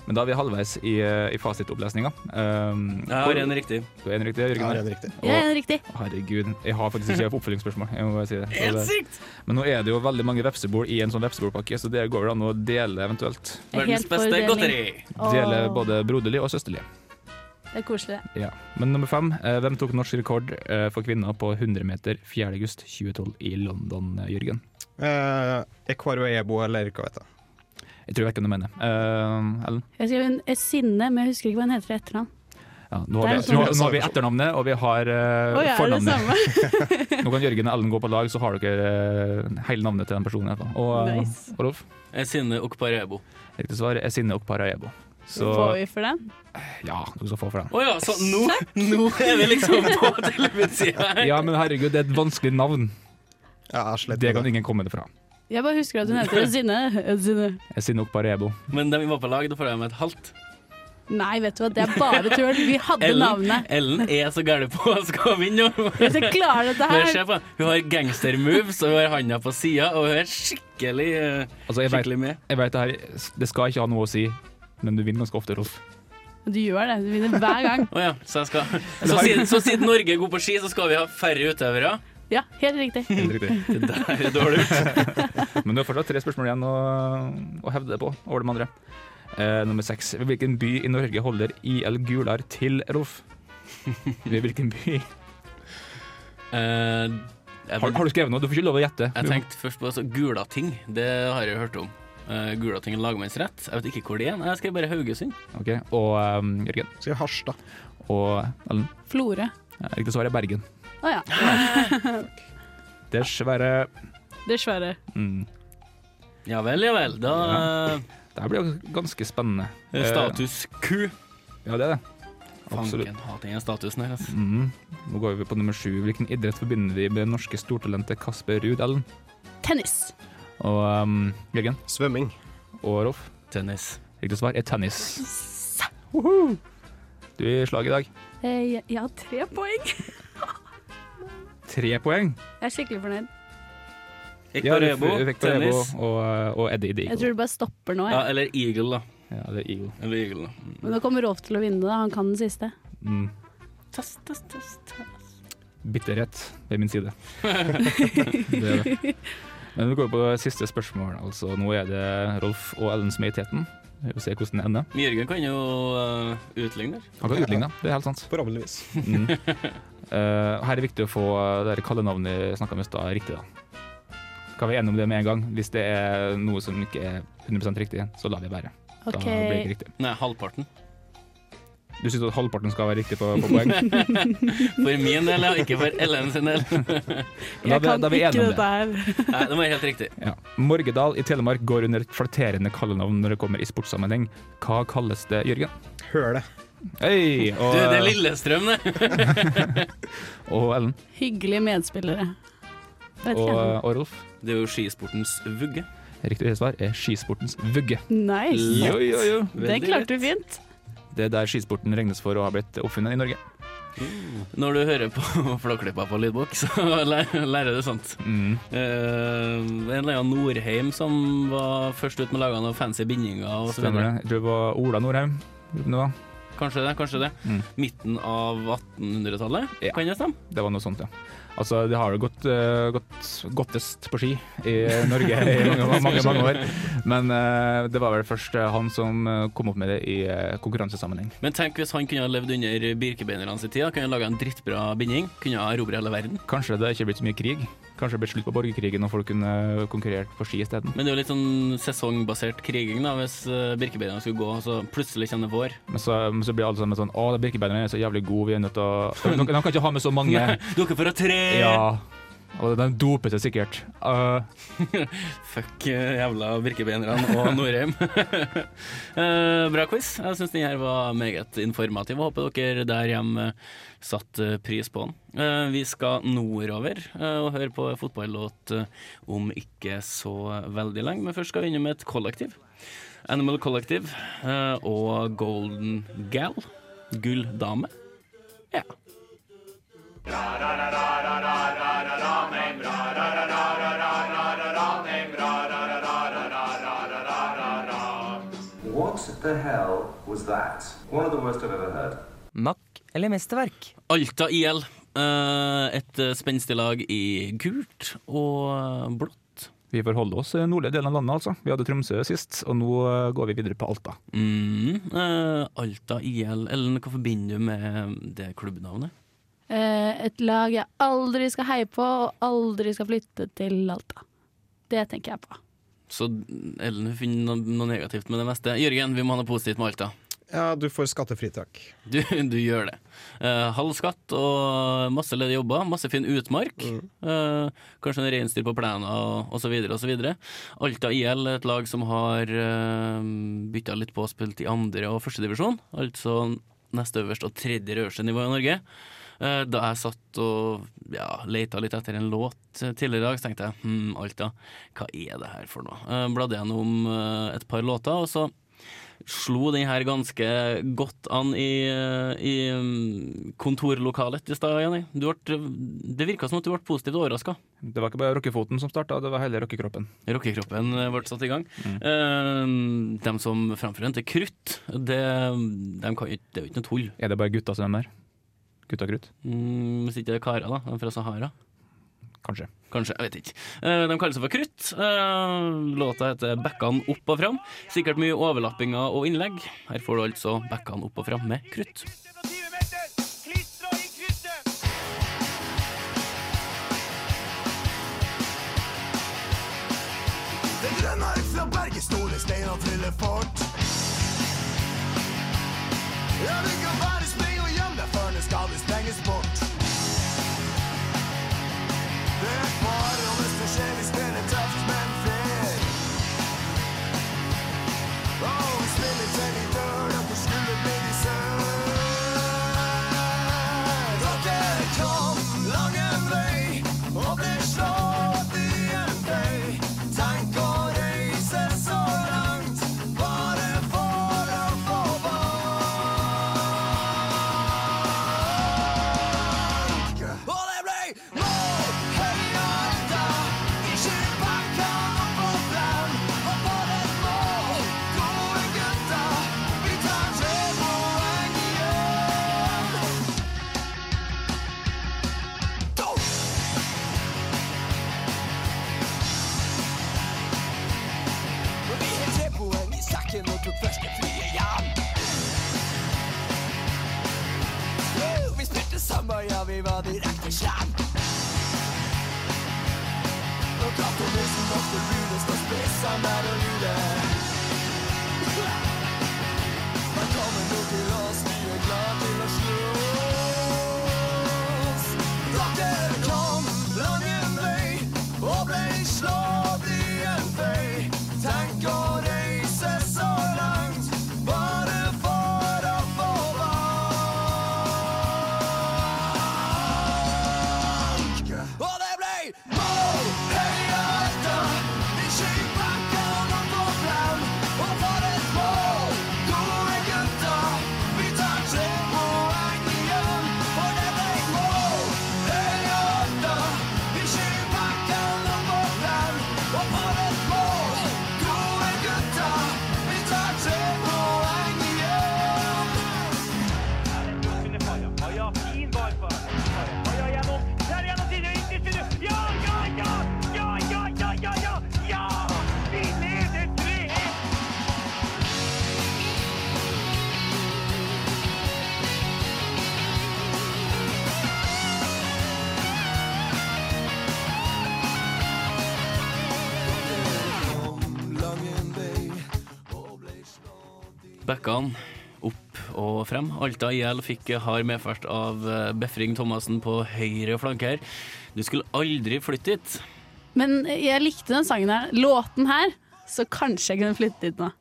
G: Men da er vi halvveis i, eh, i fasitopplesninga. Um,
E: Ja, ren riktig.
G: Du er en riktig, Jørgen.
H: Ja, det er riktig.
F: Ja, riktig.
G: Å, herregud, jeg har faktisk ikke oppfølgingsspørsmål. Jeg må bare si det. Så
E: Helt
G: det-
E: sykt!
G: Men nå er det jo veldig mange vepsebol i en sånn vepsebolpakke, så det går vel an å dele eventuelt.
F: Jeg er
E: Verdens
F: helt for
E: beste
F: deling.
E: godteri.
G: Dele
F: Åh,
G: både broderlig og søsterlig.
F: Det er koselig.
G: Ja. Men nummer fem, eh, hvem tok norsk rekord eh, for kvinner på 100 meter 4. august 2012 i London, eh, Jørgen?
H: Eh, Ekwaruebo eller hva vet jeg.
G: Jeg tror verken du mener. Eh, Ellen?
F: Jeg skrev en en Sinne, men jeg husker ikke hva hun heter i etternavn.
G: Ja, nå, har
F: Det er
G: vi,
F: sånn-
G: nå, nå har vi etternavnet, og vi har eh,
F: Å ja, er det
G: fornavnet.
F: samme?
G: Nå kan Jørgen og Ellen gå på lag, så har dere eh, hele navnet til den personen. i hvert fall. Og eh,
F: Nice.
G: og Rolf,
E: Sinne Okparebo.
G: riktig svar er Sinne og Paraebo. Så
F: Får vi for den?
G: ja, dere skal få for den.
E: Å ja, så nå, nå er vi liksom på televidsida her.
G: Ja, men herregud, det er et vanskelig navn.
H: Ja, jeg slet
G: Det
H: med
G: kan
H: det.
G: ingen komme det fra.
F: Jeg bare husker at hun heter Sinne. Sinne.
G: Sinne og Paraebo.
E: Men da vi var på lag, da får jeg med et halvt.
F: Nei, vet du hva, det er bare tull. Vi hadde
E: Ellen,
F: navnet.
E: Ellen er så gæren på å skal vinne nå.
F: Hvis jeg klarer dette
E: Men
F: her
E: se på, hun har gangstermoves, og hun har handa på sida, og hun er skikkelig, eh,
G: Altså, jeg vet,
E: skikkelig med.
G: jeg vet det her, det skal ikke ha noe å si, men du vinner ganske ofte, Rolf.
F: Du gjør det. Du vinner hver gang.
E: Å ja, så jeg skal så siden, så siden Norge er god på ski, så skal vi ha færre utøvere?
F: Ja, helt riktig.
G: Helt riktig.
E: Det der er dårlig gjort.
G: Men du har fortsatt tre spørsmål igjen å, å hevde det på over de andre. Eh, nummer seks. Ved hvilken by i Norge holder IL Gular til, Rolf? Ved hvilken by?
E: Eh, jeg,
G: Har, har du skrevet noe? Du får ikke lov å gjette.
E: jeg tenkte først på altså, Gulating. Det har jeg hørt om. Uh, Gulating lagmannsrett. Jeg vet ikke hvor det er. Nei, Jeg skrev bare Haugesund.
G: Ok, Og eh, Jørgen
H: Skriv Harstad.
G: og Ellen.
F: Florø.
G: Ja, Riktig svar er Bergen.
F: Å ja.
G: Dessverre.
F: Dessverre.
G: Mm.
E: Ja vel, ja vel. Da
G: Det her blir jo ganske spennende.
E: eh, Status Q.
G: Eh, ja, det er det. Absolutt.
E: Fanken, hater den statusen her, altså.
G: Mm. Nå går vi på nummer sju. Hvilken idrett forbinder vi med det norske stortalentet Kasper Ruud Ellen?
F: Tennis.
G: Og um, Jørgen
H: Svømming.
G: og Rolf?
E: Tennis.
G: Riktig svar er tennis. Du er i slag i dag.
F: Eh, Jeg har tre poeng.
G: Tre poeng.
F: Jeg er skikkelig fornøyd.
G: Ja,
E: Ektor Rebo,
G: Victor Rebo
E: tennis.
G: og, eh, og Eddie Eddie.
F: Jeg tror det bare stopper nå.
E: Ja,
F: Jeg.
E: eller Eagle, da.
G: Ja, det er Eagle.
E: Eller Eagle, da.
F: Men nå kommer Rolf til å vinne, da. Han kan den siste.
G: Mm.
E: Test, test, test.
G: Bitterhet ved min side. det er det. Men vi går på siste spørsmål. Altså, nå er det Rolf og Ellen som er i teten. Vi får se hvordan det ender.
E: Men Jørgen kan jo eh, utligne der.
G: Han kan utligne, det er helt sant.
H: Forhåpentligvis.
G: Mm. Eh, her er det viktig å få det her kallenavnet vi snakka om i stad, riktig. da. Kan vi enige om det med en gang? Hvis det er noe som ikke er 100 riktig, så lar vi være. Da
F: OK.
G: blir det ikke riktig.
E: Nei, halvparten.
G: Du syns at halvparten skal være riktig på, på poeng?
E: For min del, ja. Ikke for Ellen sin del.
G: da er
F: Jeg
G: vi-
F: kan
G: da er vi
F: ikke
G: enige om
F: dette her.
E: Nei, det var helt riktig.
G: Ja. Morgedal i Telemark går under et flatterende kallenavn når det kommer i sportssammenheng. Hva kalles det, Jørgen?
H: Høle.
G: Hei! Og,
E: Du, det er Lillestrøm, det.
G: og Ellen.
F: Hyggelige medspillere. Jeg vet
G: Og,
F: ikke. jeg.
G: og Rolf.
E: Det er jo skisportens vugge.
G: Riktig svar er skisportens vugge.
F: Nice.
G: Jo, jo, jo.
F: Det klarte du fint.
G: Det er der skisporten regnes for å ha blitt oppfunnet i Norge.
E: Når du hører på Flåklypa på lydbok, så læ- lærer du sånt.
G: Mm.
E: Eh, en eller annen Norheim som var først ut med å lage noen fancy bindinger og så
G: Stemmer det.
E: videre.
G: Jeg tror det var Ola Norheim. Nå.
E: Kanskje det, kanskje det.
G: Mm.
E: Midten av 1800-tallet,
G: Ja.
E: kan det stemme?
G: Det var noe sånt, ja. Altså, det har jo gått, eh, gått godtest på ski i Norge i mange, mange, mange år. Men eh, det var vel først eh, han som eh, kom opp med det i eh, konkurransesammenheng.
E: Men tenk hvis han kunne ha levd under birkebeinerne sin tid, da kunne ha laga en drittbra binding, kunne ha erobra hele verden.
G: Kanskje det ikke blitt så mye krig? Kanskje det blitt slutt på borgerkrigen og folk kunne konkurrert på ski isteden?
E: Men det er jo litt sånn sesongbasert kriging, da, hvis eh, birkebeinerne skulle gå, og så plutselig kommer det vår.
G: Men så, men så blir alle sammen sånn Å, de birkebeinerne er så jævlig gode, vi er nødt til å De kan ikke ha med så mange.
E: Dere får ha tre!
G: Ja. Og de doper seg sikkert. Eh,
E: Fuck eh, jævla Birkebeinerne og Norheim. Eh, Bra quiz. Jeg syns den her var meget informativ. og Håper dere der hjemme satte pris på den. Eh, Vi skal nordover eh, og høre på fotballåt eh, om ikke så veldig lenge, men først skal vi innom et kollektiv. Animal Collective eh, og Golden Gal. Gulldame. Ja.
L: What the hell was that? One of the worst I've ever heard.
E: Makk eller mesterverk? Alta IL. eh, Et eh, spenstig lag i gult og blått.
G: vi får holde oss i den nordlige delen av landet, altså. Vi hadde Tromsø sist, og nå eh, går vi videre på Alta.
E: Mm, eh, Alta IL. Ellen, hva forbinder du med det klubbnavnet?
F: Eh, et lag jeg aldri skal heie på, og aldri skal flytte til Alta. Det tenker jeg på.
E: Så Ellen hun finner noe, noe negativt med det meste. Jørgen, vi må ha noe positivt med Alta.
H: Ja, du får skattefritak.
E: Du, du gjør det. Eh, halv skatt og masse ledige jobber, masse fin utmark. Eh, kanskje en reinsdyr på plena og osv. osv. Alta IL er et lag som har uh, bytta litt på og spilt i andre- og førstedivisjon. Altså neste øverste og tredje øverste nivå i Norge. Eh, da jeg satt og ja, leita litt etter en låt tidligere i dag, så tenkte jeg hm, Alta, hva er det her for noe? Uh, bladde gjennom eh, et par låter, og så slo den her ganske godt an i, i um, kontorlokalet i stad, Jenny. Du ble, det virka som at du ble positivt overraska.
G: Det var ikke bare rockefoten som starta, det var hele rockekroppen.
E: Rockekroppen ble satt i gang. Eh, de som framfører den til krutt, det, de kan, jo ikke- det er jo ikke noe tull.
G: Er det bare gutta som er med her? Gutta krutt?
E: Mm, Hvis ikke det er karer, da. De er fra Sahara.
G: Kanskje.
E: Kanskje, jeg vet ikke. Eh, De kaller seg for Krutt. Eh, Låta heter 'Bekkan opp og fram'. Sikkert mye overlappinger og innlegg. Her får du altså 'Bekkan opp og fram' med Krutt.
K: Det grønne er fra berget, store steiner fyller fort. Ja, du kan bare springe og gjemme deg før det skal det sprenges bort. Det er fare, og hvis det skjer, vi spiller tøft, men fair. Og vi spiller til vi dør, og på skulle bli de sør. Dere kom lang en vei, og det slår i en vei. Tenk å reise så langt, bare for å få bank. Og det ble mål, heia Alta, ikke banka opp og fram. Og for et mål, gode gutta, vi tar tre poeng igjen. Og vi har tre poeng i sekken og tok første flyet hjem. Woo! Vi spilte sammen, ja, vi var direkte slem. Og kattenissen måtte lunes og spisse mer og lure. Velkommen nå til oss, vi er glad til å slåss. Dere kom lang en vei og ble slått i en vei. Tenk å reise så langt bare for å få bank. Og det ble mål! Heia Alta! Ikke i bakken og på plan. Og for et mål! Gode gutter, vi tar tre poeng igjen. For det ble mål! Heia Alta! Ikke i bakken og på plan. Og for et mål! Gode gutter, vi tar tre poeng
E: Bekkan opp og frem. Alta IL fikk hard medfart av eh, Befring Thomassen på høyre flanke her. Du skulle aldri flytte dit.
F: Men jeg likte den sangen her. Låten her, så kanskje jeg kunne flytte dit nå.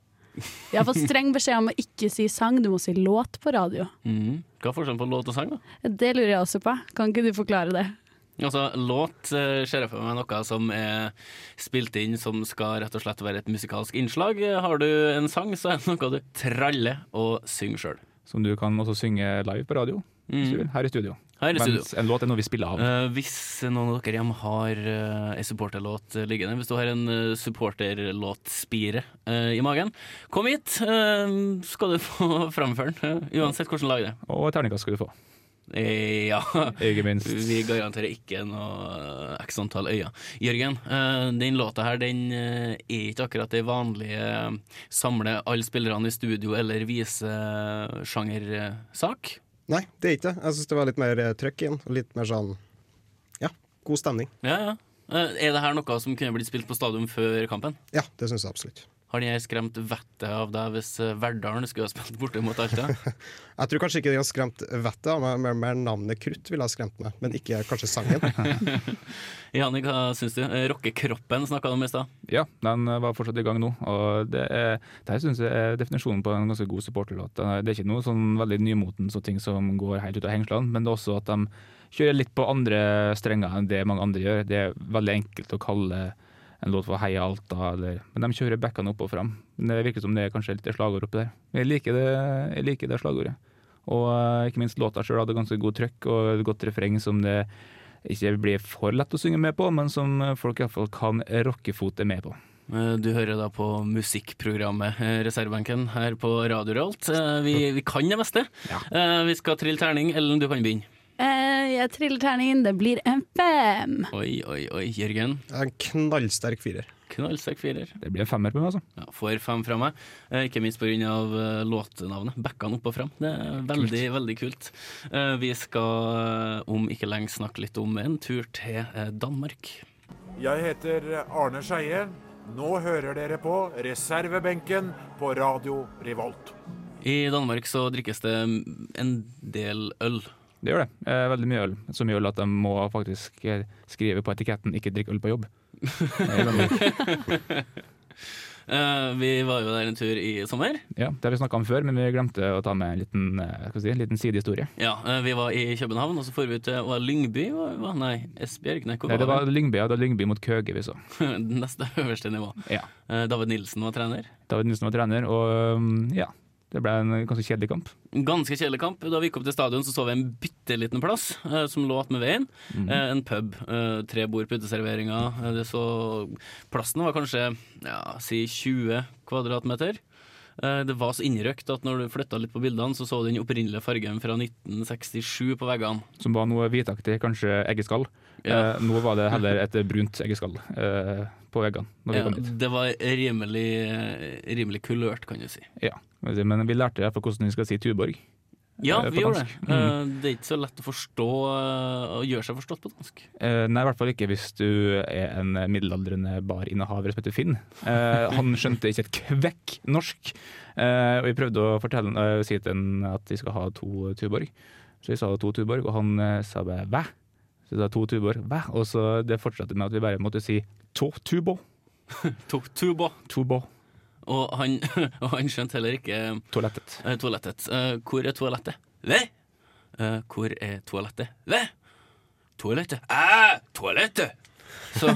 F: Jeg har fått streng beskjed om å ikke si sang, du må si låt på radio.
E: Mhm. Hva er forskjellen på låt og sang, da?
F: Det lurer jeg også på. Kan ikke du forklare det?
E: Altså, Låt eh, ser jeg for meg noe som er spilt inn som skal rett og slett være et musikalsk innslag. Har du en sang, så er det noe du traller og synger sjøl.
G: Som du kan også synge live på radio. hvis du
E: Mm.
G: vil, Her i studio.
E: Her i studio.
G: Mens en låt er noe vi spiller av.
E: Eh, hvis noen av dere hjemme har uh, en supporterlåt eh, liggende, hvis du har en eh, supporterlåtspire eh, i magen, kom hit! eh, skal du få framføre den, eh, uansett hvordan lag det er.
G: Og et terningkast skal du få.
E: Eh, Ja.
G: Ikke minst.
E: Vi garanterer ikke noe eh, x antall øyne. Jørgen, eh, den låta her den eh, er ikke akkurat det vanlige eh, samle alle spillerne i studio eller vise-sjangersak.
H: Nei, det er ikke det. Jeg syns det var litt mer eh, trøkk i den. og Litt mer sånn Ja, god stemning.
E: Ja, ja. Eh, Er det her noe som kunne blitt spilt på stadion før kampen?
H: Ja, det syns jeg absolutt.
E: Har den her skremt vettet av deg hvis eh, Verdalen skulle ha spilt borte mot Alta?
H: Jeg tror kanskje ikke de har skremt vettet av meg, men mer navnet Krutt ville ha skremt meg. Men ikke kanskje sangen.
E: Janik, hva syns du? Eh, Rockekroppen snakka du om i stad.
G: Ja, den eh, var fortsatt i gang nå. Og det, er, det her synes jeg er definisjonen på en ganske god supporterlåt. Den er- Det er ikke noe sånn veldig nymotens og ting som går helt ut av hengslene, men det er også at de kjører litt på andre strenger enn det mange andre gjør. Det er veldig enkelt å kalle en låt for Heia Alta, eller Men de kjører backene opp og fram. Men Det virker som det er kanskje litt slagord oppi der. Men Jeg liker det, jeg liker det slagordet. Og eh, ikke minst låta sjøl hadde ganske god trøkk og et godt refreng som det ikke blir for lett å synge med på, men som folk iallfall kan rockefote med på.
E: Eh, Du hører da på musikkprogrammet eh, Reservebenken her på Radio Realt. Eh, Vi, vi kan det meste. Eh, Vi skal trille terning. Ellen, du kan begynne.
F: Eh, jeg triller terningen, det blir en fem.
E: Oi, oi, oi. Jørgen?
H: En knallsterk firer.
E: Knallsterk firer.
G: Det blir en femmer på meg, altså.
E: Ja, får fem fra meg. Eh, Ikke minst pga. eh, låtnavnet. Bekkene opp og fram. Det er veldig, veldig kult. Eh, Vi skal eh, om ikke lenge snakke litt om en tur til eh, Danmark.
M: Jeg heter Arne Skeie. Nå hører dere på reservebenken på Radio Revolt.
E: I Danmark så drikkes det en del øl.
G: Det gjør det. Eh, veldig mye øl. Så mye øl at de må faktisk eh, skrive på etiketten 'ikke drikk øl på jobb'. Eh, veldig.
E: Eh, Vi var jo der en tur i sommer.
G: ja, det har vi snakka om før, men vi glemte å ta med en liten, eh, skal vi si, en liten sidehistorie.
E: Ja, eh, vi var i København, og så for vi til var det Lyngby? var- var- Nei, Esbjerg? Nei, hvor
G: Nei, det var
E: vi?
G: Lyngby, ja, det var Lyngby mot Køge vi så.
E: Neste øverste nivå.
G: Ja.
E: Eh, David Nilsen var trener.
G: David Nilsen var trener, og um, ja. Det ble en ganske kjedelig kamp.
E: Ganske kjedelig kamp. Da vi gikk opp til stadion, så så vi en bitte liten plass eh, som lå attmed veien.
G: Mhm.
E: Eh, en pub. Eh, tre bord, puteserveringer. Eh, det så Plassen var kanskje ja, si 20 kvadratmeter. Eh, det var så innrøkt at når du flytta litt på bildene, så så du den opprinnelige fargen fra 1967 på veggene.
G: Som var noe hvitaktig, kanskje eggeskall.
E: Ja.
G: Eh, nå var det heller et brunt eggeskall eh, på veggene. når vi
E: Ja,
G: kom dit.
E: det var rimelig, rimelig kulørt, kan du si.
G: Ja, skal vi si, men vi lærte i hvert fall hvordan vi skal si Tuborg.
E: Ja,
G: eh, på
E: vi gjorde det.
G: dansk. Mm.
E: Eh, Det er ikke så lett å forstå eh, og gjøre seg forstått på dansk.
G: Eh, nei, i hvert fall ikke hvis du er en middelaldrende barinnehaver som heter Finn. Eh, han skjønte ikke et kvekk norsk. Eh, og vi prøvde å fortelle, eh, si til han at vi skal ha to Tuborg. Så vi sa to Tuborg, og han eh, sa bare hva? Så da to Tuborg, hva? Og så det fortsatte med at vi bare måtte si to Tubo.
E: to Tubo.
G: Tubo.
E: Og han, og han skjønte heller ikke
G: Toalettet.
E: toalettet. Eh, Hvor er toalettet? Ve? Eh, Hvor er toalettet? Ve? Toalettet? Æ, toalettet! Så,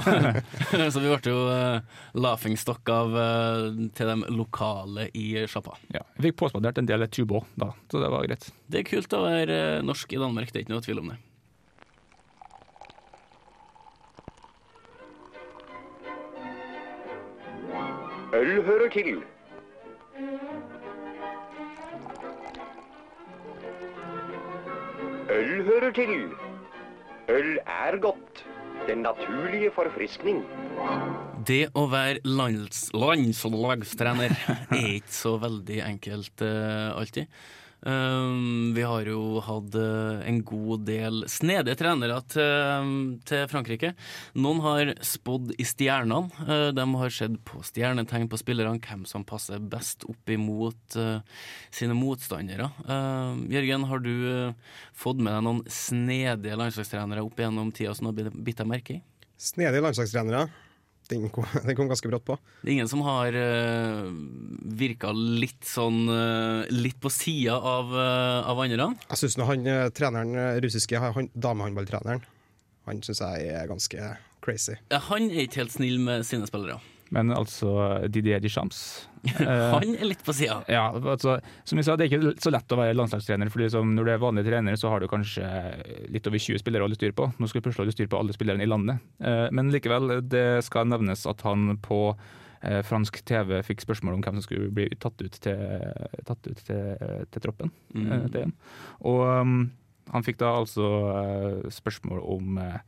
E: så vi ble jo eh, laughingstock av eh, til de lokale i sjappa.
G: Ja, vi fikk påspandert en del Tubo da, så det var greit.
E: Det er kult å være eh, norsk i Danmark, det er ikke noe tvil om det.
N: Øl hører til. Øl hører til. Øl er godt. Den naturlige forfriskning.
E: Det å være lands, landslagstrener er ikke så veldig enkelt eh, alltid. Um, vi har jo hatt eh, en god del snedige trenere til, til Frankrike. Noen har spådd i stjernene. Eh, de har sett på stjernetegn på spillerne, hvem som passer best opp imot eh, sine motstandere. Eh, Jørgen, har du eh, fått med deg noen snedige landslagstrenere opp gjennom tida som du har bitt deg merke i?
H: Snedige landslagstrenere. Den kom, den kom ganske brått på.
E: Det er ingen som har uh, virka litt sånn eh, Litt på sida av, eh, av andre?
H: Jeg syns han eh, treneren, eh, russiske han, damehåndballtreneren, han syns jeg er ganske crazy.
E: Ja, Eh, Han er ikke helt snill med sine spillere.
G: Men altså Didier Deschamps eh,
E: Han er litt på sida.
G: Ja, altså, som jeg sa, det er ikke så lett å være landslagstrener. Fordi som når du er vanlig trener, så har du kanskje litt over 20 spillere å holde styr på. Nå skal du plutselig holde styr på alle spillerne i landet. Eh, Men likevel, det skal nevnes at han på eh, fransk TV fikk spørsmål om hvem som skulle bli tatt ut til, tatt ut til, til troppen
E: Mm.
G: eh, til EM. Og um, han fikk da altså eh, spørsmål om eh,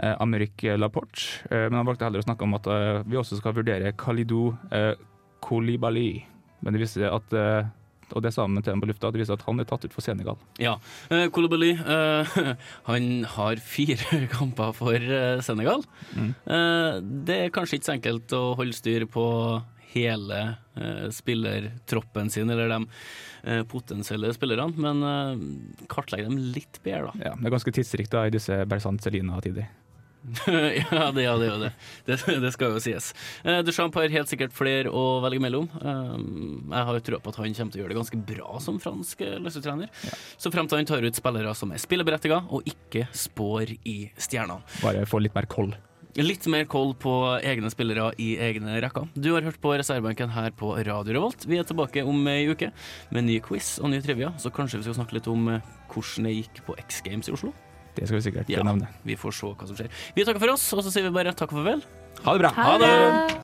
G: eh, Amerik Laporte, eh, men han valgte heller å snakke om at eh, vi også skal vurdere Kalidou eh, Kolibali. Men det viser at eh, og det sa han til ham på lufta, det viser at han er tatt ut for Senegal.
E: Ja. Uh, Kolobali han har fire kamper for eh, Senegal.
G: Mm.
E: Eh, det er kanskje ikke så enkelt å holde styr på hele eh, spillertroppen sin, eller de eh, potensielle spillerne, men eh, kartlegg dem litt bedre, da.
G: Ja, det er ganske tidsrikt da, i disse Berzant Celina-tider.
E: ja, det, ja, det er jo det. det. Det skal jo sies. Uh, Duchamp har helt sikkert flere å velge mellom. Eh, jeg har jo trua på at han kommer til å gjøre det ganske bra som fransk eh, løsetrener. Så frem til han tar ut spillere som er spilleberettiga, og ikke spår i stjernene.
G: Bare få litt mer koll.
E: Litt mer koll på egne spillere i egne rekker. Du har hørt på reservebenken her på Radio Revolt. Vi er tilbake om ei uke med ny quiz og ny trivia, så kanskje vi skal snakke litt om eh, hvordan det gikk på X Games i Oslo.
G: Det skal vi sikkert
E: Ja,
G: nevne.
E: vi får se hva som skjer. Vi takker for oss, og så sier vi bare takk og farvel.
G: Ha det bra.
E: Ha det.